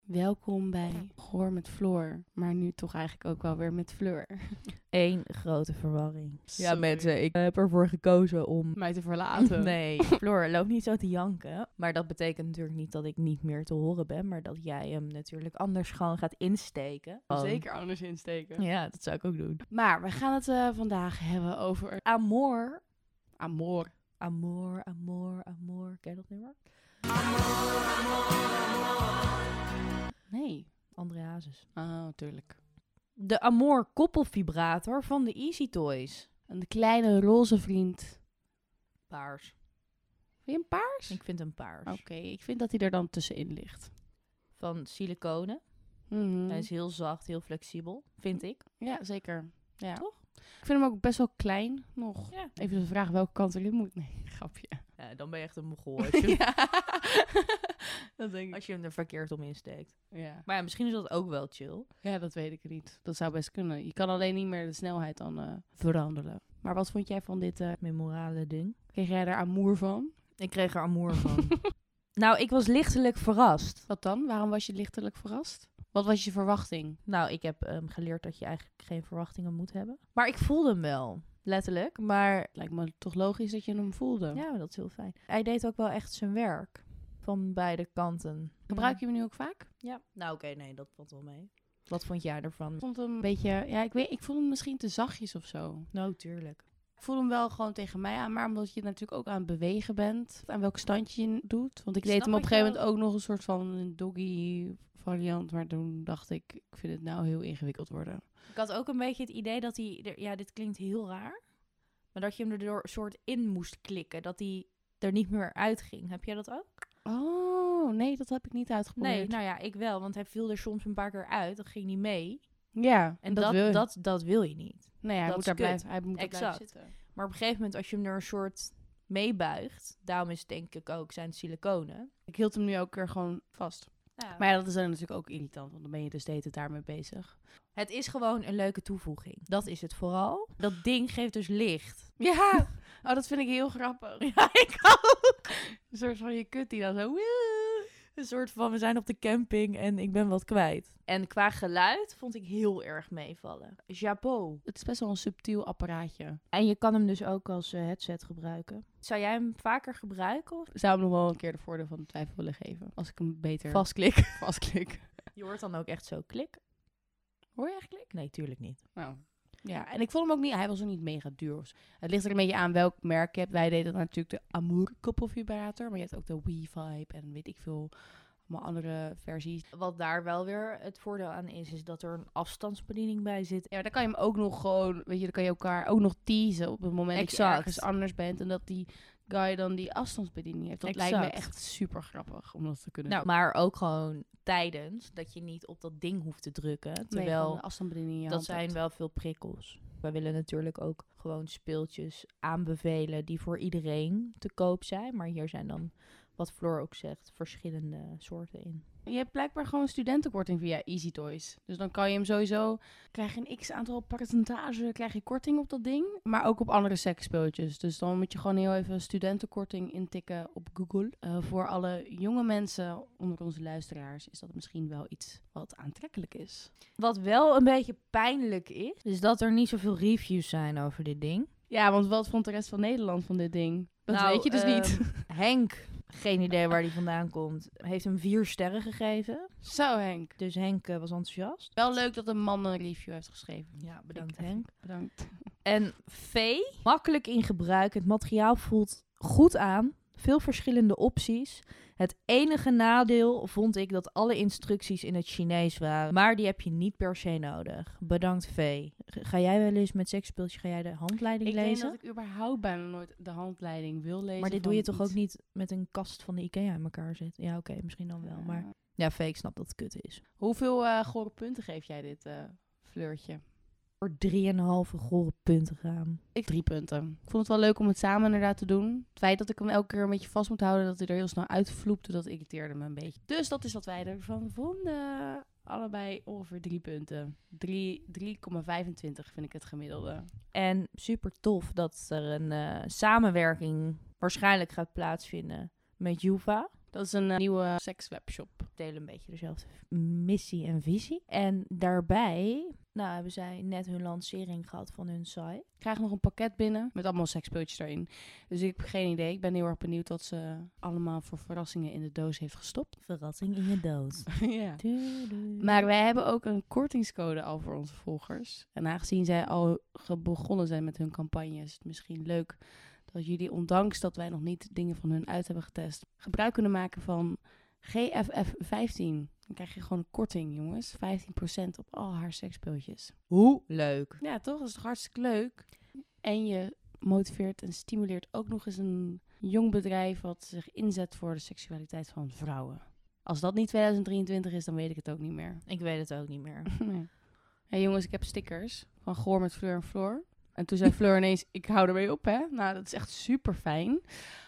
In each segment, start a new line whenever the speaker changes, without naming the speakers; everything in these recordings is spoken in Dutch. welkom bij Goor met Floor, maar nu toch eigenlijk ook wel weer met Fleur.
Eén grote verwarring. Ja,
Sorry.
mensen, ik heb ervoor gekozen om.
Mij te verlaten.
Nee, Floor, loop niet zo te janken. Maar dat betekent natuurlijk niet dat ik niet meer te horen ben, maar dat jij hem natuurlijk anders gewoon gaat insteken.
Zeker anders insteken.
Oh. Ja, dat zou ik ook doen.
Maar we gaan het eh, vandaag hebben over
Amor.
amor.
Amor, amor, amor. Ken je dat nummer?
Nee.
André Hazes.
Oh, tuurlijk.
De Amor koppelvibrator van de Easy Toys.
Een kleine roze vriend.
Paars.
Wil je een paars?
Ik vind hem paars.
Oké, ik vind dat hij er dan tussenin ligt.
Van siliconen. Hij is heel zacht, heel flexibel, vind ik.
Mhm. Ja, zeker. Ja.
Toch?
Ik vind hem ook best wel klein nog.
Ja.
Even de vraag welke kant erin moet. Nee, grapje.
Ja, dan ben je echt een mogol als je,
Ja. dat denk ik.
als je hem er verkeerd om insteekt.
Ja.
Maar ja, misschien is dat ook wel chill.
ja, dat weet ik niet. Dat zou best kunnen. Je kan alleen niet meer de snelheid dan eh, veranderen. Maar wat vond jij van dit? eh,
Memorale ding.
kreeg jij daar amour van?
Ik kreeg er amour van. nou, ik was lichtelijk verrast.
Wat dan? Waarom was je lichtelijk verrast? Wat was je verwachting?
Nou, ik heb ehm, geleerd dat je eigenlijk geen verwachtingen moet hebben. Maar ik voelde hem wel, letterlijk. Maar
Lijkt me toch logisch dat je hem voelde.
ja, dat is heel fijn. Hij deed ook wel echt zijn werk. Van beide kanten.
Gebruik je hem nu ook vaak?
Ja. Nou, oké, nee, dat valt wel mee. Wat vond jij ervan?
Ik vond hem een beetje... Ja, ik weet... Ik vond hem misschien te zachtjes of zo.
Nou, tuurlijk.
Ik voel hem wel gewoon tegen mij aan, maar omdat je natuurlijk ook aan het bewegen bent, aan welk stand je doet. Want ik
Ik
deed
snap
hem op een
wat
gegeven
je-
moment ook nog een soort van een doggy variant, maar toen dacht ik, ik vind het nou heel ingewikkeld worden.
Ik had ook een beetje het idee dat hij... er- Ja, dit klinkt heel raar. Maar dat je hem er door soort in moest klikken. Dat hij er niet meer uitging. Heb jij dat ook?
Oh, nee, dat heb ik niet uitgeprobeerd.
Nee, nou ja, ik wel. Want hij viel er soms een paar keer uit. Dat ging niet mee.
ja,
En
dat,
dat,
wil je.
dat, dat, wil je niet.
nee, hij
dat
moet daar
is kut.
blijven, hij moet daar blijven
Exact.
zitten.
Maar op een gegeven moment, als je hem er een soort meebuigt... Daarom is het denk ik ook zijn siliconen.
Ik hield hem nu ook weer gewoon vast.
Maar
Maar ja, dat is dan natuurlijk ook irritant, want dan ben je dus de hele tijd daarmee bezig.
het is gewoon een leuke toevoeging. Dat is het vooral. Dat ding geeft dus licht.
Ja, oh, dat vind ik heel grappig.
Ja, ik ook.
Een soort van je kut die dan zo...
Een soort van, we zijn op de camping en ik ben wat kwijt. En qua geluid vond ik heel erg meevallen. Chapeau.
Het is best wel een subtiel apparaatje.
En je kan hem dus ook als eh, headset gebruiken. Zou jij hem vaker gebruiken? Of?
zou hem nog wel een keer de voordeel van de twijfel willen geven. Als ik hem beter
Vastklik.
vastklik.
Je hoort dan ook echt zo klik.
Hoor je echt klik?
Nee, tuurlijk niet.
Nou. Ja, en ik vond hem ook niet... Hij was ook niet mega duur. of zo. Het ligt er een beetje aan welk merk je hebt. Wij deden natuurlijk de Amour koppelvibrator. Maar je hebt ook de WeVibe en weet ik veel... Allemaal andere versies.
Wat daar wel weer het voordeel aan is, is dat er een afstandsbediening bij zit.
Ja, maar dan kan je hem ook nog gewoon... Weet je, dan kan je elkaar ook nog teasen op het moment dat je
Exact.
ergens anders bent. En dat die guy dan die afstandsbediening heeft. Dat lijkt me
Exact.
echt super grappig om dat te kunnen
Nou,
doen.
maar ook gewoon tijdens, dat je niet op dat ding hoeft te drukken.
Nee,
Terwijl,
gewoon de afstandsbediening in je
dat
hand hebt.
zijn wel veel prikkels. Wij willen natuurlijk ook gewoon speeltjes aanbevelen die voor iedereen te koop zijn. Maar hier zijn dan, wat Floor ook zegt, verschillende soorten in.
Je hebt blijkbaar gewoon studentenkorting via Easy Toys. Dus dan kan je hem sowieso... Krijg je een x-aantal percentage, krijg je korting op dat ding. Maar ook op andere seksspeeltjes. Dus dan moet je gewoon heel even studentenkorting intikken op Google. Eh, voor alle jonge mensen onder onze luisteraars... is dat misschien wel iets wat aantrekkelijk is.
Wat wel een beetje pijnlijk is, is dat er niet zoveel reviews zijn over dit ding.
Ja, want wat vond de rest van Nederland van dit ding? Dat
Nou,
weet je dus
ehm,
niet.
Henk, geen idee waar die vandaan komt, heeft hem vier sterren gegeven.
Zo, Henk.
Dus Henk eh, was enthousiast.
Wel leuk dat een man een review heeft geschreven.
Ja,
bedankt,
bedankt Henk.
Bedankt.
En vee, makkelijk in gebruik. Het materiaal voelt goed aan. Veel verschillende opties. Het enige nadeel vond ik dat alle instructies in het Chinees waren. Maar die heb je niet per se nodig. Bedankt vee. G- Ga jij wel eens met seksspeeltjes, ga jij de handleiding
Ik denk
lezen?
dat ik überhaupt bijna nooit de handleiding wil lezen.
Maar dit
van
doe je toch
iets.
ook niet met een kast van de Ikea in elkaar zetten? Ja, oké, misschien dan wel. Maar ja, vee, ik snap dat het kut is.
Eh, Hoeveel eh gore punten geef jij dit eh, fleurtje?
Voor 3,5 gore punten gaan.
Ik drie punten. Ik vond het wel leuk om het samen inderdaad te doen. Het feit dat ik hem elke keer een beetje vast moet houden, dat hij er heel snel uitvloepte, dat irriteerde me een beetje. Dus dat is wat wij ervan vonden. Allebei ongeveer drie punten. Drie- 3,25 vind ik het gemiddelde.
En super tof dat er een eh, samenwerking waarschijnlijk gaat plaatsvinden met Juva.
Dat is een eh, nieuwe sekswebshop.
delen een beetje dezelfde missie en visie. En daarbij nou, hebben zij net hun lancering gehad van hun site.
Ik krijg nog een pakket binnen met allemaal sekspultjes erin. Dus ik heb geen idee. Ik ben heel erg benieuwd wat ze allemaal voor verrassingen in de doos heeft gestopt.
Verrassing in je dood.
ja. Maar wij hebben ook een kortingscode al voor onze volgers. En aangezien zij al ge- begonnen zijn met hun campagne, is het misschien leuk dat jullie, ondanks dat wij nog niet dingen van hun uit hebben getest, gebruik kunnen maken van GFF15. Dan krijg je gewoon een korting, jongens. 15% op al haar seksspeeltjes.
Hoe leuk.
Ja, toch? Dat is toch hartstikke leuk. En je motiveert en stimuleert ook nog eens een jong bedrijf wat zich inzet voor de seksualiteit van vrouwen. Als dat niet 2023 is, dan weet ik het ook niet meer.
Ik weet het ook niet meer.
Nee. Hé jongens, ik heb stickers van Goor met Fleur en Floor. En toen zei Fleur ineens, ik hou ermee op hè. Nou, dat is echt super fijn.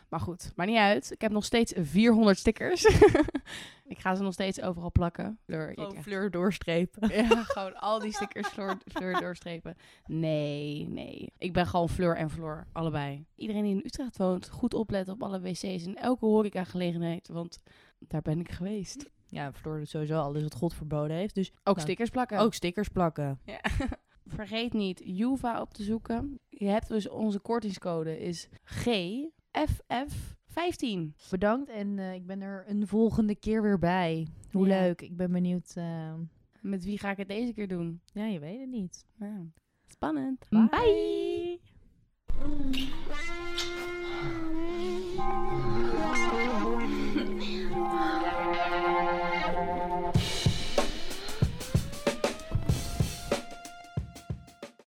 Maar goed, maar niet uit. Ik heb nog steeds 400 stickers. ik ga ze nog steeds overal plakken. Fleur, je krijgt-
Oh, fleur doorstrepen.
ja, gewoon al die stickers Fleur, Fleur doorstrepen. Nee, nee. Ik ben gewoon Fleur en Floor, allebei. Iedereen die in Utrecht woont, goed opletten op alle wc's en elke horecagelegenheid. Want daar ben ik geweest.
Ja, Floor doet sowieso alles wat God verboden heeft. Dus
Ook
Nou,
stickers plakken.
ook stickers plakken.
Ja. Vergeet niet Juva op te zoeken. Je hebt dus onze kortingscode is GFF15.
Bedankt en eh, ik ben er een volgende keer weer bij. Hoe
Ja.
leuk. Ik ben benieuwd. eh,
Met wie ga ik het deze keer doen?
ja, je weet het niet.
Ja. Spannend.
嗯 Bye.
Bye.